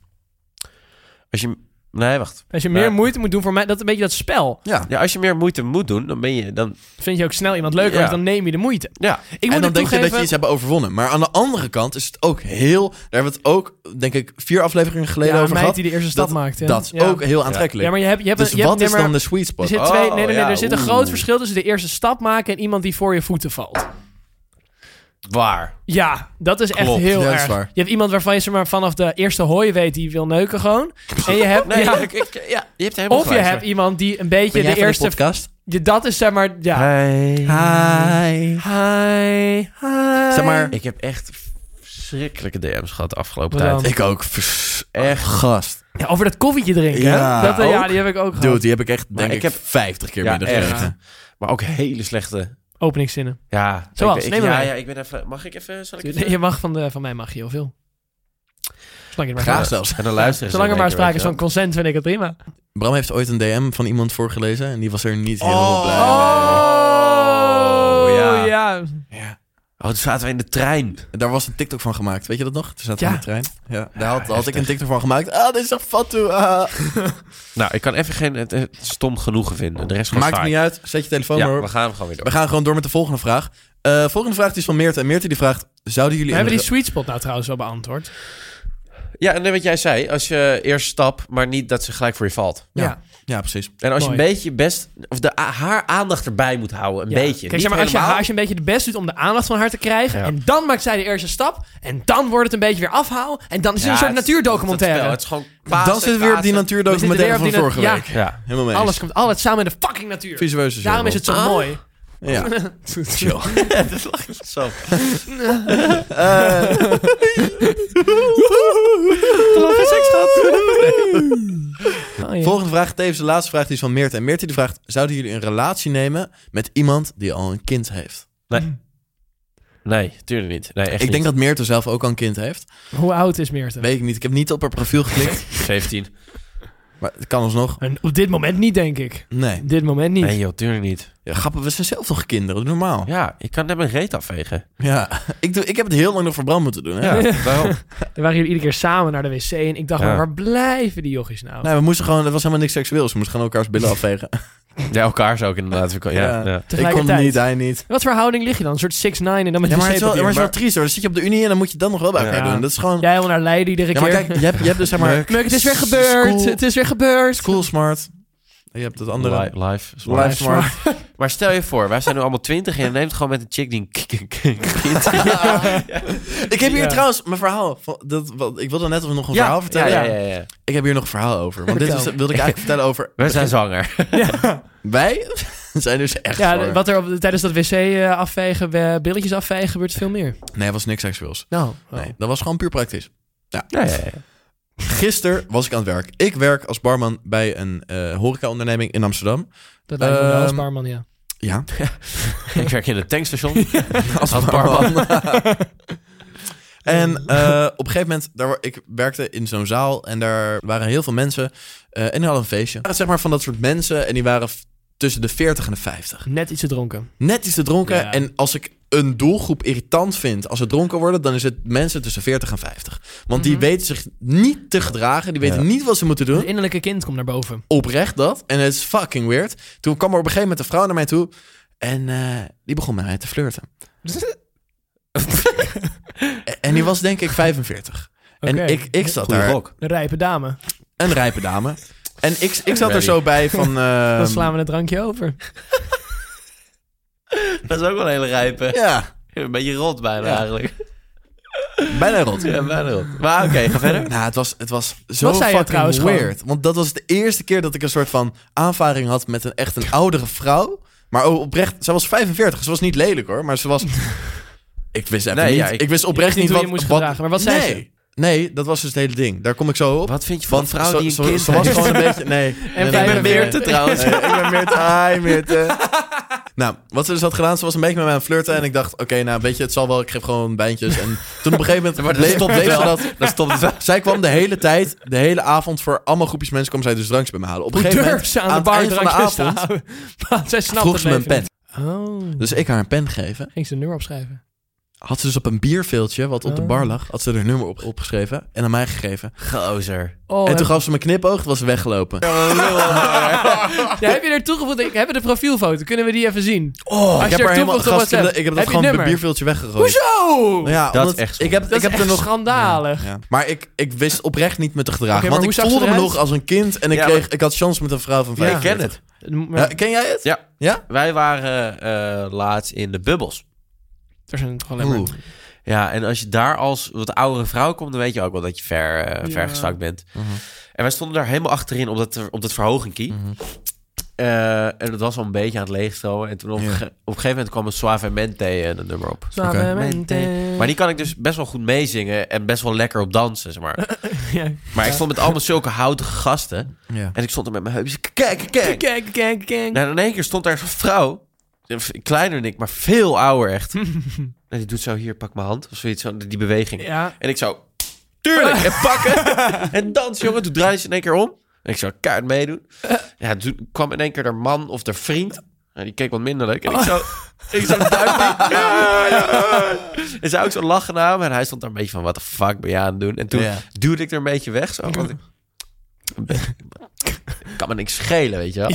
Speaker 1: Als je Nee, wacht.
Speaker 2: Als je meer
Speaker 1: Maar-
Speaker 2: moeite moet doen voor mij, dat is een beetje dat spel.
Speaker 3: Ja.
Speaker 1: Ja, als je meer moeite moet doen, dan ben je... Dan,
Speaker 2: Vind je ook snel iemand leuker,
Speaker 1: Ja.
Speaker 2: want dan neem je de moeite.
Speaker 1: ja,
Speaker 2: Ik moet
Speaker 3: en dan
Speaker 2: ook
Speaker 3: denk je dat
Speaker 2: toegeven-
Speaker 3: je iets hebt overwonnen. Maar aan de andere kant is het ook heel... Daar hebben we het ook, denk ik, vier afleveringen geleden
Speaker 2: ja, een
Speaker 3: over
Speaker 2: meid
Speaker 3: gehad.
Speaker 2: die de eerste stap maakt. Ja.
Speaker 3: Dat is
Speaker 2: Ja.
Speaker 3: ook heel aantrekkelijk.
Speaker 2: Ja, maar je hebt, je hebt,
Speaker 3: dus
Speaker 2: je hebt
Speaker 3: wat is
Speaker 2: nee, maar-
Speaker 3: dan de sweet
Speaker 2: Er
Speaker 3: spot?
Speaker 2: zit,
Speaker 1: Oh,
Speaker 2: twee, nee, nee, nee,
Speaker 1: ja,
Speaker 2: er zit een
Speaker 1: oeh.
Speaker 2: groot verschil tussen de eerste stap maken en iemand die voor je voeten valt.
Speaker 1: waar.
Speaker 2: Ja, dat is echt
Speaker 3: Klopt,
Speaker 2: heel
Speaker 3: ja, dat is
Speaker 2: erg.
Speaker 3: waar.
Speaker 2: Je hebt iemand waarvan je ze maar vanaf de eerste hooi weet die wil neuken gewoon. En je hebt,
Speaker 1: Nee,
Speaker 2: ja,
Speaker 1: ik, ik- ja, je hebt helemaal
Speaker 2: of je
Speaker 1: gelijk,
Speaker 2: hebt iemand die een beetje de eerste...
Speaker 3: podcast?
Speaker 2: je- dat is zeg maar... Ja.
Speaker 3: Mm. Hi.
Speaker 2: Hi. Hi.
Speaker 3: Zeg maar,
Speaker 1: Ik heb echt verschrikkelijke DM's gehad de afgelopen
Speaker 2: Wat dan?
Speaker 1: tijd.
Speaker 3: ik ook. Echt gast.
Speaker 2: Ja, over dat koffietje drinken.
Speaker 3: Ja,
Speaker 2: hè? dat, eh, ja
Speaker 3: ook.
Speaker 2: die heb ik ook
Speaker 3: Dude,
Speaker 2: gehad.
Speaker 3: die heb ik echt, denk ik,
Speaker 1: ik heb-
Speaker 3: 50 keer
Speaker 1: Ja,
Speaker 3: minder
Speaker 1: echt.
Speaker 3: gegeten.
Speaker 1: Maar ook hele slechte.
Speaker 2: Openingszinnen.
Speaker 1: Ja.
Speaker 2: Zoals,
Speaker 1: ik, ik,
Speaker 2: neem maar
Speaker 1: ja,
Speaker 2: mee.
Speaker 1: ja, ik ben even... Mag ik even... Zal ik even-
Speaker 2: Nee, je mag van, de, van mij mag je heel veel. Zolang je er maar
Speaker 3: Graag
Speaker 2: van-
Speaker 3: zelfs.
Speaker 1: En dan luisteren ze
Speaker 2: Zolang er
Speaker 1: in
Speaker 2: maar
Speaker 1: één
Speaker 2: sprake
Speaker 1: keer,
Speaker 2: is van
Speaker 1: weet
Speaker 2: consent vind ik het prima.
Speaker 3: Bram heeft ooit een DM van iemand voorgelezen en die was er niet helemaal blij
Speaker 2: Oh,
Speaker 1: ja.
Speaker 2: ja.
Speaker 1: je wel. Oh, toen zaten we in de trein.
Speaker 3: mee. Daar was een TikTok van gemaakt, weet je dat nog? Toen zaten we
Speaker 2: Ja.
Speaker 3: in de trein. Ja, daar had, had ik een TikTok van gemaakt. Ah, dit is echt fatu. ah.
Speaker 1: Nou, ik kan even geen het, het stom genoegen vinden. De rest gewoon
Speaker 3: Maakt het niet uit, zet je telefoon maar
Speaker 1: Ja,
Speaker 3: op.
Speaker 1: we gaan hem gewoon weer
Speaker 3: We
Speaker 1: door.
Speaker 3: gaan gewoon door met de volgende vraag. Eh, volgende vraag die is van Meerte. En Meerte die vraagt, zouden jullie...
Speaker 2: We hebben
Speaker 3: een-
Speaker 2: die sweet spot nou trouwens wel beantwoord.
Speaker 1: Ja, en net wat jij zei. Als je eerst stap, maar niet dat ze gelijk voor je valt.
Speaker 3: Ja. Ja, precies.
Speaker 1: En als
Speaker 2: Mooi.
Speaker 1: je een beetje je best... Of de, a- haar aandacht erbij moet houden. Een
Speaker 2: Ja.
Speaker 1: beetje.
Speaker 2: Kijk, zeg maar, als je, als je een beetje de best doet om de aandacht van haar te krijgen.
Speaker 1: Ja.
Speaker 2: En dan maakt zij de eerste stap. En dan wordt het een beetje weer afhaal. En dan is het een soort
Speaker 1: Het,
Speaker 2: natuurdocumentaire.
Speaker 1: is gewoon
Speaker 3: Dan zitten we weer op die natuurdocumentaire van vorige
Speaker 2: ja,
Speaker 3: week.
Speaker 1: Ja.
Speaker 3: Helemaal mee.
Speaker 2: alles komt altijd samen met de fucking natuur.
Speaker 3: visueus.
Speaker 2: Daarom is het zo
Speaker 1: Ah.
Speaker 2: mooi.
Speaker 3: Ja. Chill.
Speaker 1: Zo.
Speaker 2: Oh, ja.
Speaker 3: Volgende vraag, tevens de laatste vraag, die is van Meert. En Meert die vraagt, zouden jullie een relatie nemen met iemand die al een kind heeft?
Speaker 1: Nee, tuurlijk niet. Nee, echt
Speaker 3: ik denk dat Meert er zelf ook al een kind heeft.
Speaker 2: Hoe oud is Meerte?
Speaker 3: Weet ik niet, ik heb niet op haar profiel geklikt.
Speaker 1: dat... 17.
Speaker 3: maar het kan alsnog.
Speaker 2: En op dit moment niet, denk ik.
Speaker 3: Nee.
Speaker 2: Op dit moment niet.
Speaker 1: Nee joh, tuurlijk niet.
Speaker 3: Ja, grappig, we zijn zelf toch kinderen, doe normaal. Ja.
Speaker 1: Ja, ik kan net mijn reet afvegen.
Speaker 3: Ik, doe, ik heb het heel lang nog voor Bram moeten doen. Hè?
Speaker 1: waarom?
Speaker 2: Dan waren jullie iedere keer samen naar de wc. En ik dacht,
Speaker 1: Ja.
Speaker 2: maar waar blijven die jochies nou?
Speaker 3: Nee, we moesten gewoon, het was helemaal niks seksueels. We moesten gewoon elkaars billen afvegen.
Speaker 1: Ja, elkaar zou ik inderdaad. Ja, ja.
Speaker 3: Ja.
Speaker 1: ja.
Speaker 3: ik kon
Speaker 2: Tegelijkertijd.
Speaker 3: niet, hij niet.
Speaker 2: Wat voor houding lig je dan? Een soort 6-9 en dan met
Speaker 3: Ja, maar
Speaker 2: de
Speaker 3: het is wel, maar het is wel
Speaker 2: wc-papier.
Speaker 3: triest hoor. Dan zit je op de Unie en dan moet je dat nog wel bij elkaar
Speaker 2: Ja.
Speaker 3: doen. Dat is gewoon...
Speaker 2: Jij wil naar Leiden iedere
Speaker 3: Ja,
Speaker 2: keer.
Speaker 3: maar kijk, je hebt, je hebt dus zeg maar...
Speaker 2: Leuk, het is weer gebeurd.
Speaker 3: School-
Speaker 2: Het is weer gebeurd.
Speaker 3: School smart. Je hebt het andere.
Speaker 1: Li- live. is waar.
Speaker 3: Live smart.
Speaker 1: Maar stel je voor, wij zijn nu allemaal 20 en je neemt gewoon met een chick die een k- k- k- kind heeft.
Speaker 3: Ik heb hier
Speaker 2: Ja.
Speaker 3: trouwens mijn verhaal. van- Dat, wat, ik wilde net nog een
Speaker 1: Ja,
Speaker 3: verhaal vertellen.
Speaker 1: Ja, ja, ja, ja.
Speaker 3: Ik heb hier nog een verhaal over. Want dit
Speaker 2: Vertel.
Speaker 3: is, wilde ik eigenlijk vertellen over.
Speaker 1: We zijn zwanger.
Speaker 3: Wij zijn dus echt.
Speaker 2: Ja,
Speaker 3: zwanger.
Speaker 2: de- wat er op, tijdens dat wc eh, afvegen, we- billetjes afvegen, gebeurt veel meer.
Speaker 3: Nee, het was niks seksueels.
Speaker 2: Nou,
Speaker 3: Nee, dat was gewoon puur praktisch.
Speaker 1: Ja, ja, ja.
Speaker 3: Gisteren was ik aan het werk. Ik werk als barman bij een eh horecaonderneming in Amsterdam.
Speaker 2: dat lijkt me wel als
Speaker 3: Ehm,
Speaker 2: barman, ja.
Speaker 3: Ja,
Speaker 1: Ik werk in het tankstation.
Speaker 3: als,
Speaker 1: barman.
Speaker 3: en eh, op een gegeven moment, daar, wa- ik werkte in zo'n zaal en daar waren heel veel mensen. eh, en die hadden een feestje. Er waren zeg maar van dat soort mensen en die waren f- tussen de 40 en de 50.
Speaker 2: Net iets te dronken.
Speaker 3: net iets te dronken.
Speaker 2: Ja.
Speaker 3: En als ik een doelgroep irritant vind als ze dronken worden, dan is het mensen tussen 40 en 50. Want die
Speaker 2: Mhm.
Speaker 3: weten zich niet te gedragen, die weten
Speaker 1: Ja.
Speaker 3: niet wat ze moeten
Speaker 2: Het
Speaker 3: doen.
Speaker 2: innerlijke kind komt naar boven.
Speaker 3: Oprecht dat. En het is fucking weird. Toen kwam er op een gegeven moment een vrouw naar mij toe en eh, die begon met mij te flirten. en die was denk ik 45.
Speaker 2: Oké.
Speaker 3: En ik, ik zat
Speaker 1: Goeie
Speaker 3: daar,
Speaker 1: rok.
Speaker 2: Een rijpe dame.
Speaker 3: een rijpe dame. En ik, ik zat er
Speaker 1: Ready.
Speaker 3: zo bij van... eh,
Speaker 2: Dan slaan we het drankje over.
Speaker 1: Dat is ook wel een hele rijpe.
Speaker 3: Ja,
Speaker 1: Een beetje rot bijna
Speaker 3: Ja.
Speaker 1: eigenlijk.
Speaker 3: bijna rot.
Speaker 1: Ja, bijna rot. Maar Ah, oké, ga verder.
Speaker 3: Nou, het was, het was zo
Speaker 2: zei je
Speaker 3: fucking
Speaker 2: trouwens gewoon?
Speaker 3: weird. Want dat was de eerste keer dat ik een soort van aanvaring had met een echt een oudere vrouw. Maar o- oprecht, ze was 45. Ze was niet lelijk hoor, maar ze was... Ik wist even
Speaker 1: Nee,
Speaker 3: niet.
Speaker 1: ja, ik-
Speaker 3: ik, wist oprecht
Speaker 2: niet
Speaker 3: niet
Speaker 2: hoe
Speaker 3: wat...
Speaker 2: je moest
Speaker 3: wat-
Speaker 2: gedragen, maar wat zei
Speaker 3: nee.
Speaker 2: ze?
Speaker 3: Nee, dat was dus het hele ding. Daar kom ik zo op.
Speaker 1: Wat vind je van
Speaker 3: Want
Speaker 1: een vrouw
Speaker 3: zo-
Speaker 1: die een
Speaker 3: zo-
Speaker 1: kind
Speaker 3: Ze was
Speaker 1: heeft?
Speaker 3: gewoon een beetje... Nee.
Speaker 2: En
Speaker 3: nee,
Speaker 2: bij
Speaker 3: nee,
Speaker 2: de
Speaker 3: nee,
Speaker 2: Meerte
Speaker 3: nee.
Speaker 1: trouwens.
Speaker 3: Nee, ik ben Meerte. Hi Meerte. Nou, wat ze dus had gedaan, ze was een beetje met mij aan het flirten. En ik dacht, oké, nou weet je, het zal wel, ik geef gewoon bijntjes. En toen op een gegeven moment bleef, bleef ze dat...
Speaker 1: Dat stopt het wel.
Speaker 3: Zij kwam de hele tijd, de hele avond voor allemaal groepjes mensen kwam zij dus drankjes bij me halen. Op een
Speaker 2: Hoe
Speaker 3: gegeven moment
Speaker 2: durf ze aan de
Speaker 3: het
Speaker 2: bar
Speaker 3: eind van de
Speaker 2: drankjes te
Speaker 3: avond
Speaker 2: houden? Want zij snapt
Speaker 3: vroeg
Speaker 2: het
Speaker 3: ze me een
Speaker 2: leven
Speaker 3: pen.
Speaker 2: niet. Oh.
Speaker 3: Dus ik haar een pen geven.
Speaker 2: Ging ze een nummer opschrijven?
Speaker 3: had ze dus op een bierveeltje, wat
Speaker 2: Oh.
Speaker 3: op de bar lag, had ze haar nummer op, opgeschreven en aan mij gegeven.
Speaker 1: Gozer.
Speaker 2: Oh,
Speaker 3: en
Speaker 2: heb,
Speaker 3: toen gaf ze me een knipoog, toen was ze weggelopen.
Speaker 2: ja, heb je er toegevoegd? Ik heb de profielfoto. Kunnen we die even zien?
Speaker 3: Oh,
Speaker 2: Als
Speaker 3: ik heb
Speaker 2: je
Speaker 3: haar
Speaker 2: er
Speaker 3: helemaal
Speaker 2: toevoegt op
Speaker 3: gast, ik heb dat-
Speaker 2: WhatsApp,
Speaker 3: ik heb dat
Speaker 2: heb je
Speaker 3: gewoon op een
Speaker 2: nummer?
Speaker 3: bierveeltje weggegooid. Nou
Speaker 2: Zo!
Speaker 3: Ja,
Speaker 1: Dat is
Speaker 3: omdat
Speaker 1: echt
Speaker 3: ik heb,
Speaker 2: Dat
Speaker 3: ik
Speaker 2: is
Speaker 3: heb
Speaker 2: echt
Speaker 3: er nog
Speaker 2: schandalig.
Speaker 3: Ja. Maar ik, ik wist oprecht niet me te gedragen.
Speaker 2: Oké, maar
Speaker 3: want
Speaker 2: hoe
Speaker 3: ik
Speaker 2: zag ze
Speaker 3: voelde me
Speaker 2: eruit?
Speaker 3: nog als een kind en ik,
Speaker 1: Ja,
Speaker 3: kreeg, ik had chance met een vrouw van
Speaker 1: Ja,
Speaker 3: 5.
Speaker 1: ik ken het.
Speaker 3: Ja, ken jij het?
Speaker 1: Ja.
Speaker 3: Ja?
Speaker 1: Wij waren eh, laatst in de bubbels.
Speaker 2: Er zijn toch alleen maar...
Speaker 3: Oeh.
Speaker 1: Ja, en als je daar als wat oudere vrouw komt, dan weet je ook wel dat je ver, eh
Speaker 2: Ja.
Speaker 1: vergestakt bent. En wij stonden daar helemaal achterin op dat, op dat verhoginkie.
Speaker 3: Mhm.
Speaker 1: Eh, en dat was al een beetje aan het leegstromen. En toen op,
Speaker 3: Ja.
Speaker 1: een ge- op een gegeven moment kwam een Suavemente eh, dat nummer op.
Speaker 2: Suavemente.
Speaker 1: Maar die kan ik dus best wel goed meezingen en best wel lekker op dansen, zeg maar.
Speaker 2: Ja.
Speaker 1: Maar ik stond met allemaal zulke houtige gasten.
Speaker 3: Ja.
Speaker 1: En ik stond er met mijn heupjes. Kijk, kijk.
Speaker 2: Kijk, kijk, kijk.
Speaker 1: Nou, in één keer stond daar zo'n vrouw. Kleiner dan ik, maar veel ouder echt. en die doet zo hier, pak mijn hand. Of zoiets, zo, die beweging.
Speaker 2: Ja.
Speaker 1: En ik zou, tuurlijk, en pakken. en dansen, jongen. Toen draaide ze in één keer om. En ik zou kaart meedoen. Ja, toen kwam in één keer haar man of haar vriend. En die keek wat minder leuk. En ik zou, ik zou duiken. Oh. Ja, ja. En zij ook zo lachen naar hem. En hij stond daar een beetje van, wat de fuck ben je aan het doen? En toen
Speaker 3: Ja.
Speaker 1: duwde ik er een beetje weg. Zo, want ik, een beetje- kan me niks schelen, weet je wel.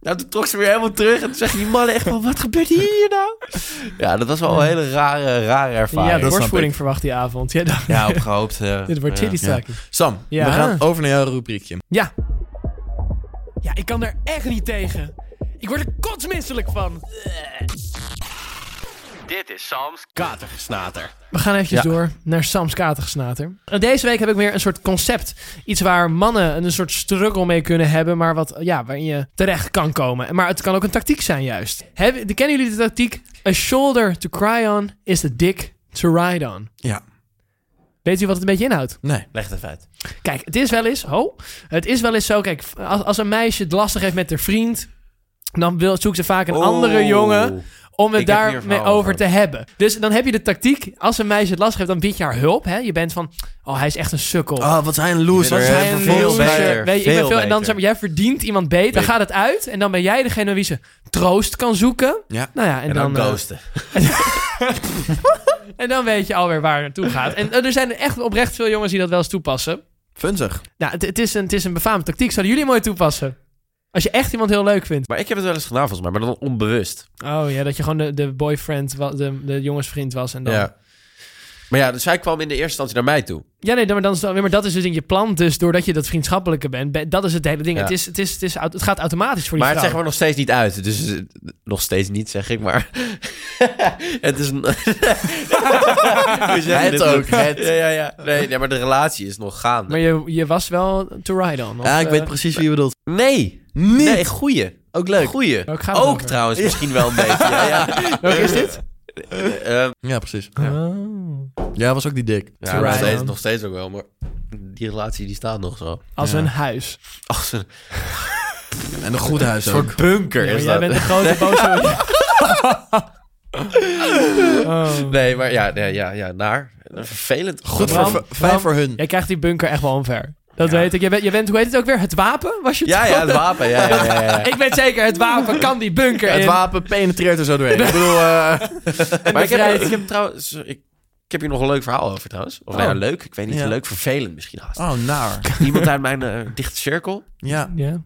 Speaker 1: Nou, toen trok ze weer helemaal terug. En toen zeggen die mannen echt van, wat gebeurt hier nou? Ja, dat was wel een hele rare, rare
Speaker 2: Ja,
Speaker 1: ervaring.
Speaker 3: dat
Speaker 2: borstvoeding verwacht die avond. Ja, dacht,
Speaker 1: Ja, op gehoopt. eh,
Speaker 2: dit wordt
Speaker 1: ja.
Speaker 2: chili straks.
Speaker 3: Sam,
Speaker 2: Ja.
Speaker 3: we gaan over naar jouw rubriekje.
Speaker 2: Ja. Ja, ik kan er echt niet tegen. Ik word er kotsmisselijk van.
Speaker 4: Dit is Sam's katergesnater.
Speaker 2: We gaan eventjes door naar Sam's katergesnater. En Deze week heb ik weer een soort concept. Iets waar mannen een soort struggle mee kunnen hebben, maar wat, ja, waarin je terecht kan komen. Maar het kan ook een tactiek zijn juist. Hebben- kennen jullie de tactiek? A shoulder to cry on is the dick to ride on.
Speaker 3: Ja.
Speaker 2: Weet u wat het een beetje inhoudt?
Speaker 3: Nee.
Speaker 1: Leg het uit.
Speaker 2: Kijk, het is wel eens. Ho, het is wel eens zo. Kijk, als, als een meisje het lastig heeft met haar vriend. Dan wil, zoekt ze vaak een andere jongen om het
Speaker 1: Oh, Ik heb hier een
Speaker 2: daarmee
Speaker 1: verhaal
Speaker 2: over,
Speaker 1: over.
Speaker 2: te hebben. Dus dan heb je de tactiek, als een meisje het lastig heeft, dan bied je haar hulp. Hè? Je bent van, oh, hij is echt een sukkel.
Speaker 3: Ah, wat zijn een loser.
Speaker 1: Wat is hij
Speaker 3: hè?
Speaker 1: een
Speaker 3: Vervolgens-
Speaker 1: loser.
Speaker 3: bij-
Speaker 1: beter,
Speaker 2: Weet je, ik ben
Speaker 1: veel
Speaker 2: veel, en dan
Speaker 1: beter.
Speaker 2: zeg maar, jij verdient iemand beter. Dan gaat het uit en dan ben jij degene aan wie ze troost kan zoeken.
Speaker 3: Ja.
Speaker 2: Nou ja, en,
Speaker 1: En
Speaker 2: dan,
Speaker 1: dan,
Speaker 2: eh,
Speaker 1: ghosten.
Speaker 2: en dan weet je alweer waar het naartoe gaat. En eh, er zijn echt oprecht veel jongens die dat wel eens toepassen.
Speaker 3: Funzig.
Speaker 2: Nou, het, het is een, het is een befaamde tactiek. Zouden jullie mooi toepassen? Als je echt iemand heel leuk vindt.
Speaker 1: Maar ik heb het wel eens gedaan volgens mij, maar dan onbewust.
Speaker 2: Oh ja, dat je gewoon de, de boyfriend, wa- de, de jongensvriend was en dan... Ja,
Speaker 1: Ja. Maar ja, dus zij kwam in de eerste instantie naar mij toe.
Speaker 2: nee, dan- maar, dan, is het wel- maar dat is dus in je plan. Dus doordat je dat vriendschappelijke bent, ben- dat is het hele ding.
Speaker 1: Ja.
Speaker 2: Het, is, het, is, het, is, au- het gaat automatisch voor die
Speaker 1: Maar het
Speaker 2: vrouw.
Speaker 1: zeggen we nog steeds niet uit. Dus eh, nog steeds niet, zeg ik, maar... het is... een- We zeggen
Speaker 3: Het
Speaker 1: dit
Speaker 3: ook,
Speaker 1: nog.
Speaker 3: het.
Speaker 1: Ja, ja, ja. Nee, nee, maar de relatie is nog gaande.
Speaker 2: Maar je, je was wel to ride on. of,
Speaker 3: Ja, ik
Speaker 2: eh,
Speaker 3: weet precies wie je bedoelt.
Speaker 1: Nee.
Speaker 3: Niet.
Speaker 1: Nee, goeie.
Speaker 3: Ook leuk.
Speaker 1: Goeie.
Speaker 2: Welk gaat het
Speaker 1: Ook
Speaker 2: over?
Speaker 1: trouwens misschien wel een beetje. Ja, ja.
Speaker 2: Welke is dit?
Speaker 1: Eh, eh,
Speaker 3: Ja, precies.
Speaker 2: Oh.
Speaker 3: Ja, was ook die dik.
Speaker 1: ja, nog,
Speaker 2: ride
Speaker 1: steeds,
Speaker 2: on.
Speaker 1: nog steeds ook wel, maar... Die relatie die staat nog zo.
Speaker 2: Als
Speaker 3: Ja.
Speaker 2: een huis.
Speaker 1: Ach, ze-
Speaker 3: En een goed huis
Speaker 1: Een
Speaker 3: ook.
Speaker 1: soort bunker
Speaker 2: Ja, maar
Speaker 1: is
Speaker 2: jij
Speaker 1: dat.
Speaker 2: bent de grote boze... oh.
Speaker 1: Nee, maar ja, nee, ja, ja naar. Vervelend.
Speaker 3: Goed
Speaker 2: Bram,
Speaker 3: voor v- vijf
Speaker 2: Bram.
Speaker 3: voor hun.
Speaker 2: Jij krijgt die bunker echt wel omver. Dat
Speaker 1: Ja.
Speaker 2: weet ik. Je bent, je bent, hoe heet het ook weer? Het wapen? Was je
Speaker 1: Ja,
Speaker 2: het
Speaker 1: ja, het wapen. Ja, ja, ja, ja.
Speaker 2: Ik weet zeker, het wapen kan die bunker
Speaker 3: Het
Speaker 2: in.
Speaker 3: wapen penetreert er zo doorheen. ik bedoel, eh,
Speaker 1: Maar ik heb,
Speaker 2: bevrijd.
Speaker 1: ik heb trouwens... Ik, ik heb hier nog een leuk verhaal over trouwens. Of nou ja, leuk, ik weet niet.
Speaker 3: Ja.
Speaker 1: Leuk, vervelend misschien haast.
Speaker 3: Oh, naar.
Speaker 1: Iemand uit mijn eh, dichte cirkel.
Speaker 3: Ja.
Speaker 2: Ja.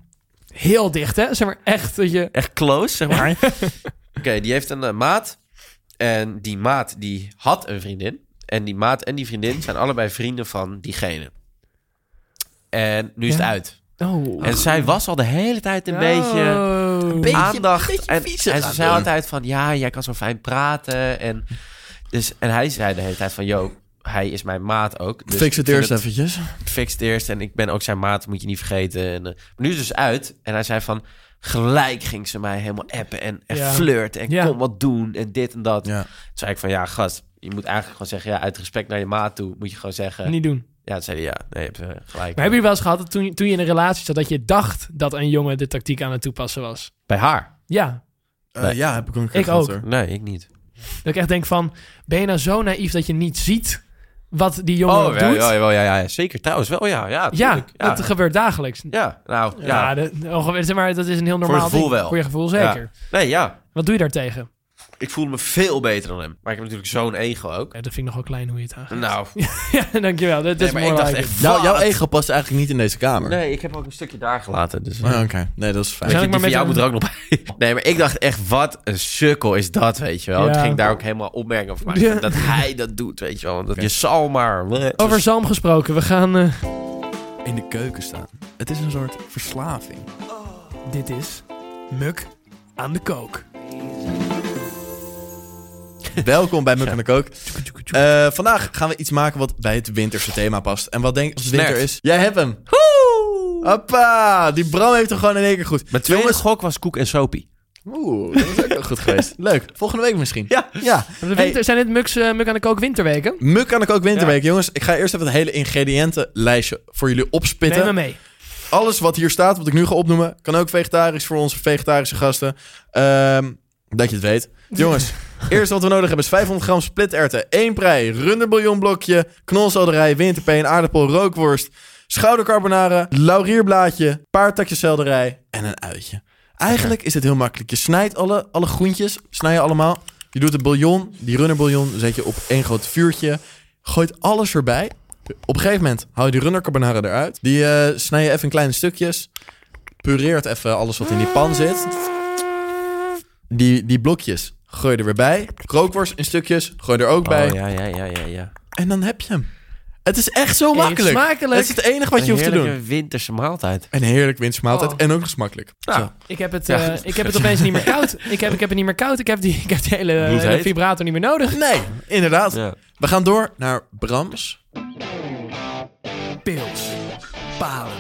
Speaker 2: Heel dicht, hè? Zeg maar echt dat je...
Speaker 1: Echt close, zeg maar. Oké, die heeft een eh, maat. En die maat, die had een vriendin. En die maat en die vriendin zijn allebei vrienden van diegene. En nu is het
Speaker 2: Ja.
Speaker 1: uit.
Speaker 2: Oh.
Speaker 1: En zij was al de hele tijd een beetje... aandacht. en, en ze zei altijd van, ja, jij kan zo fijn praten. En, dus, en hij zei de hele tijd van, yo, hij is mijn maat ook. Dus
Speaker 3: Fix het
Speaker 1: ik vind
Speaker 3: eerst eventjes.
Speaker 1: Fix het eerst. En ik ben ook zijn maat, moet je niet vergeten. En, eh, maar nu is het dus uit. En hij zei van, gelijk ging ze mij helemaal appen en, en
Speaker 2: Ja.
Speaker 1: flirten. En
Speaker 2: Ja.
Speaker 1: kom wat doen en dit en dat.
Speaker 3: Ja.
Speaker 1: Toen zei ik van, ja, gast, je moet eigenlijk gewoon zeggen, ja, uit respect naar je maat toe, moet je gewoon zeggen.
Speaker 2: Niet doen.
Speaker 1: Ja, toen zei hij, ja, nee, je hebt eh, gelijk.
Speaker 2: Maar hebben jullie wel eens gehad dat toen, toen je in een relatie zat... dat je dacht dat een jongen de tactiek aan het toepassen was?
Speaker 1: Bij haar?
Speaker 2: Ja.
Speaker 3: Eh,
Speaker 1: Nee.
Speaker 3: ja, heb ik ook een keer
Speaker 2: Ik
Speaker 3: gehad,
Speaker 2: ook.
Speaker 3: hoor.
Speaker 1: Nee, ik niet.
Speaker 2: Dat ik echt denk van... ben je nou zo naïef dat je niet ziet wat die jongen
Speaker 1: Oh,
Speaker 2: eh, doet?
Speaker 1: ja, ja, ja, ja, ja, zeker. Trouwens wel, ja. Ja,
Speaker 2: Ja,
Speaker 1: tuurlijk. ja.
Speaker 2: dat gebeurt dagelijks. oh,
Speaker 1: Ja, nou, ja.
Speaker 2: Ja, dat- ongeveer- zeg maar, dat is een heel normaal
Speaker 1: gevoel
Speaker 2: ding.
Speaker 1: wel.
Speaker 2: Voor je gevoel zeker.
Speaker 1: Nee, ja.
Speaker 2: Wat doe je daartegen?
Speaker 1: Ik voelde me veel beter dan hem. Maar ik heb natuurlijk zo'n ego ook.
Speaker 2: Ja, dat vind ik nog wel klein hoe je het aangaat.
Speaker 1: Nou,
Speaker 2: ja, dankjewel. Dat,
Speaker 1: nee,
Speaker 2: is
Speaker 1: maar ik dacht
Speaker 2: mooi.
Speaker 1: echt...
Speaker 3: Nou, jouw
Speaker 1: wat?
Speaker 3: ego past eigenlijk niet in deze kamer.
Speaker 1: Nee, ik heb ook een stukje daar gelaten. Dus,
Speaker 3: Ah, Oké, nee, dat is fijn.
Speaker 2: Zijn
Speaker 1: Weet je,
Speaker 2: ik maar
Speaker 1: die van jou
Speaker 2: met
Speaker 1: moet er ook nog bij. Nee, maar ik dacht echt, wat een sukkel is dat, weet je wel.
Speaker 2: Ja.
Speaker 1: Het ging daar ook helemaal opmerkingen over maken.
Speaker 2: Ja.
Speaker 1: Dat hij dat doet, weet je wel. Want dat- Je zal maar...
Speaker 2: Over zalm gesproken, we gaan... eh,
Speaker 3: In de keuken staan. Het is een soort verslaving.
Speaker 2: dit is Muk aan de kook.
Speaker 3: Welkom bij Muk en de Kook. Eh, vandaag gaan we iets maken wat bij het winterse thema past. En wat denk ik als het winter
Speaker 1: Snert.
Speaker 3: is? Jij hebt hem. Hoppa, die Bram heeft hem gewoon in één keer goed.
Speaker 1: Mijn tweede gok was koek en sopie.
Speaker 3: Oeh, dat is ook nog goed geweest. Leuk, volgende week misschien.
Speaker 1: Ja.
Speaker 3: ja.
Speaker 2: De winter- Zijn dit Muk's, eh, Muk aan de kook winterweken?
Speaker 3: Muk kan ik ook winterweek. Jongens, ik ga eerst even het hele ingrediëntenlijstje voor jullie opspitten.
Speaker 2: Neem me mee.
Speaker 3: Alles wat hier staat, wat ik nu ga opnoemen, kan ook vegetarisch voor onze vegetarische gasten. Ehm, dat je het weet. Jongens, eerst wat we nodig hebben is 500 gram splitterten, 1 prei, runderbouillonblokje, knolselderij, winterpeen, aardappel, rookworst, schoudercarbonara, laurierblaadje, paar takjes selderij en een uitje. Eigenlijk is dit heel makkelijk. Je snijdt alle, alle groentjes, snij je allemaal. Je doet de bouillon, die runnerbouillon zet je op één groot vuurtje. Gooit alles erbij. Op een gegeven moment haal je die runnercarbonara eruit. Die eh, snij je even in kleine stukjes. Pureert even alles wat in die pan zit. Die, die blokjes gooi je er weer bij. Krookworst in stukjes gooi je er ook bij.
Speaker 1: Oh, ja, ja, ja, ja, ja.
Speaker 3: En dan heb je hem. Het is echt zo
Speaker 2: Eet
Speaker 3: makkelijk.
Speaker 2: smakelijk.
Speaker 3: Dat is het enige wat je hoeft te doen.
Speaker 1: Een winterse maaltijd.
Speaker 3: Een heerlijk winstmaaltijd.
Speaker 2: Oh.
Speaker 3: En ook nog smakelijk.
Speaker 1: Nou,
Speaker 3: Zo.
Speaker 2: Ik heb, het,
Speaker 1: Ja,
Speaker 2: eh,
Speaker 1: goed.
Speaker 2: ik heb het opeens niet meer koud. Ik heb, ik heb het niet meer koud. Ik heb die, ik heb die hele,
Speaker 1: Bloedheet.
Speaker 2: hele vibrator niet meer nodig.
Speaker 3: Nee, inderdaad.
Speaker 1: Ja.
Speaker 3: We gaan door naar Brams.
Speaker 2: Pils, palen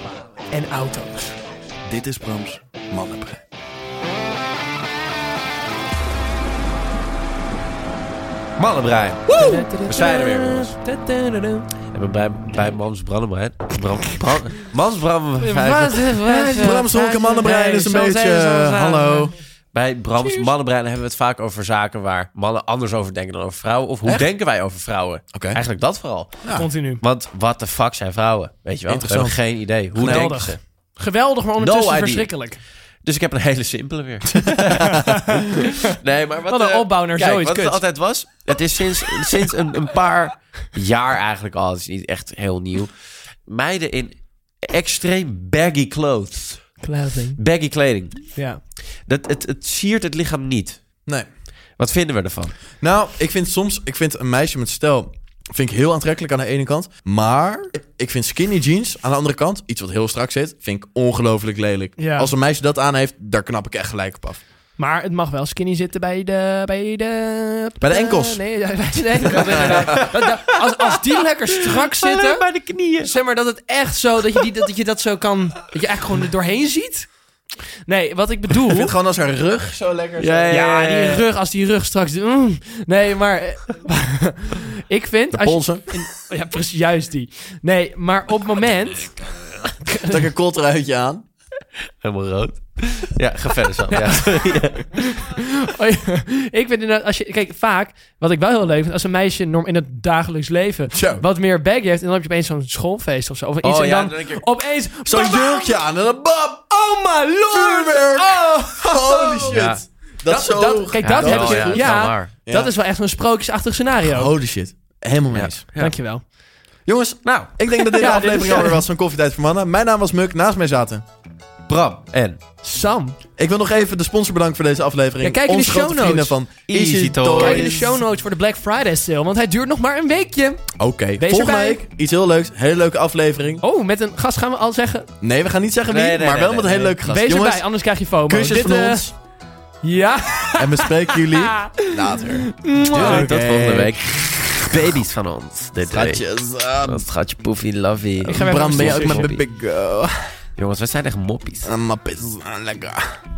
Speaker 2: en auto's.
Speaker 3: Dit is Brams Mannenbrein.
Speaker 1: Mannenbrein.
Speaker 2: We
Speaker 1: zijn er weer, jongens. En we bij, bij Mans Brandebrein. Bram, Bram, Mans Brandebrein.
Speaker 3: Brams Honken Mannenbrein is een beetje... eh, hallo.
Speaker 1: Bij Brams Mannenbrein hebben we het vaak over zaken waar mannen anders over denken dan over vrouwen. Of hoe
Speaker 3: Echt?
Speaker 1: denken wij over vrouwen?
Speaker 3: Oké.
Speaker 1: Eigenlijk dat vooral.
Speaker 2: Continu.
Speaker 1: Want wat de fuck zijn vrouwen? Weet je wel?
Speaker 3: Interessant.
Speaker 1: We hebben geen idee. Hoe
Speaker 2: Geweldig.
Speaker 1: denken ze?
Speaker 2: Geweldig, maar
Speaker 1: No
Speaker 2: ondertussen
Speaker 1: idea.
Speaker 2: verschrikkelijk.
Speaker 1: Dus ik heb een hele simpele weer. nee, maar wat,
Speaker 2: Wat een
Speaker 1: eh,
Speaker 2: opbouw naar
Speaker 1: kijk,
Speaker 2: zoiets
Speaker 1: Wat het
Speaker 2: kuts.
Speaker 1: altijd was, het is sinds, sinds een, een paar jaar eigenlijk al. Het is niet echt heel nieuw. Meiden in extreem baggy clothes.
Speaker 2: Clothing.
Speaker 1: Baggy kleding.
Speaker 2: Ja.
Speaker 1: Dat, het, het siert het lichaam niet.
Speaker 3: Nee.
Speaker 1: Wat vinden we ervan?
Speaker 3: Nou, ik vind soms... Ik vind een meisje met stijl... Vind ik heel aantrekkelijk aan de ene kant. Maar ik vind skinny jeans aan de andere kant... Iets wat heel strak zit, vind ik ongelooflijk lelijk.
Speaker 2: Ja.
Speaker 3: Als een meisje dat aan heeft, daar knap ik echt gelijk op af.
Speaker 2: Maar het mag wel skinny zitten bij de... Bij de, eh,
Speaker 3: Bij de enkels.
Speaker 2: Nee, ja, bij de enkels inderdaad. Dat- dat- als, als die lekker strak zitten... bij de knieën. Zeg maar dat het echt zo... Dat je, die, dat je dat zo kan... Dat je echt gewoon er doorheen ziet. Nee, wat ik bedoel...
Speaker 3: Ik vind gewoon als haar rug zo lekker... zo-
Speaker 2: Ja, die rug, als die rug straks... mm. nee, maar... eh, ik vind...
Speaker 3: De
Speaker 2: als je-
Speaker 3: polsen.
Speaker 2: in- ja, precies, juist die. Nee, maar op het moment...
Speaker 3: Trek een koltruitje aan.
Speaker 1: Helemaal rood. Ja, ga verder zo. Ja.
Speaker 2: Oh ja, ik vind inderdaad... Als je, kijk, vaak... Wat ik wel heel leuk vind... Als een meisje norm, in het dagelijks leven...
Speaker 3: Zo.
Speaker 2: wat meer baggy heeft... en dan heb je opeens zo'n schoolfeest of zo. Of iets,
Speaker 1: Oh
Speaker 2: en
Speaker 1: ja,
Speaker 2: dan,
Speaker 1: dan denk ik-
Speaker 2: opeens...
Speaker 3: Zo'n jurkje aan en dan bam!
Speaker 2: Oh my lord!
Speaker 3: Vuurwerk!
Speaker 2: Oh,
Speaker 3: Holy shit.
Speaker 1: Ja.
Speaker 3: Dat, is zo...
Speaker 2: dat, kijk, dat,
Speaker 1: dat
Speaker 2: heb
Speaker 1: wel,
Speaker 2: je... Ja,
Speaker 1: ja, dat is wel waar.
Speaker 3: Ja.
Speaker 2: dat is wel echt zo'n sprookjesachtig scenario.
Speaker 3: Holy shit. Helemaal mee eens.
Speaker 1: Ja.
Speaker 2: Dankjewel.
Speaker 3: Jongens,
Speaker 1: Nou,
Speaker 3: ik denk dat deze
Speaker 2: Ja, dit
Speaker 3: aflevering
Speaker 2: is-
Speaker 3: alweer was van Koffietijd voor Mannen. Mijn naam was Muk, naast mij zaten.
Speaker 1: Bram en
Speaker 2: Sam,
Speaker 3: Ik wil nog even de sponsor bedanken voor deze aflevering.
Speaker 2: Ja, kijk in de
Speaker 3: Onze grote
Speaker 2: show
Speaker 3: vrienden
Speaker 2: notes.
Speaker 3: van
Speaker 1: Easy
Speaker 3: Easy
Speaker 1: Toys.
Speaker 3: Toys.
Speaker 2: kijk in de show notes voor de Black Friday sale... want hij duurt nog maar een weekje.
Speaker 3: Oké,
Speaker 2: Wees
Speaker 3: volgende
Speaker 2: erbij.
Speaker 3: week iets heel leuks. Hele leuke aflevering.
Speaker 2: Oh, met een gast gaan we al zeggen.
Speaker 3: Nee, we gaan niet zeggen wie,
Speaker 1: Nee, nee,
Speaker 3: maar
Speaker 1: nee,
Speaker 3: wel
Speaker 1: nee,
Speaker 3: met een hele
Speaker 1: nee.
Speaker 3: leuke gast.
Speaker 2: Wees
Speaker 3: Jongens,
Speaker 2: erbij, anders krijg je FOMO.
Speaker 3: kusjes
Speaker 2: Dit,
Speaker 3: van
Speaker 2: eh,
Speaker 3: ons.
Speaker 2: Ja.
Speaker 3: En we spreken jullie later.
Speaker 1: Doei, tot
Speaker 3: Oké.
Speaker 1: volgende week. Baby's van ons. Dit week.
Speaker 3: Schatjes. ah,
Speaker 1: Dat schatje poefie lovey.
Speaker 2: ga weer
Speaker 3: Bram, ben je ook
Speaker 1: Sorry.
Speaker 3: met Big Go?
Speaker 1: Jongens, we zijn echt moppies.
Speaker 3: Ah, mappies. ah, Lekker.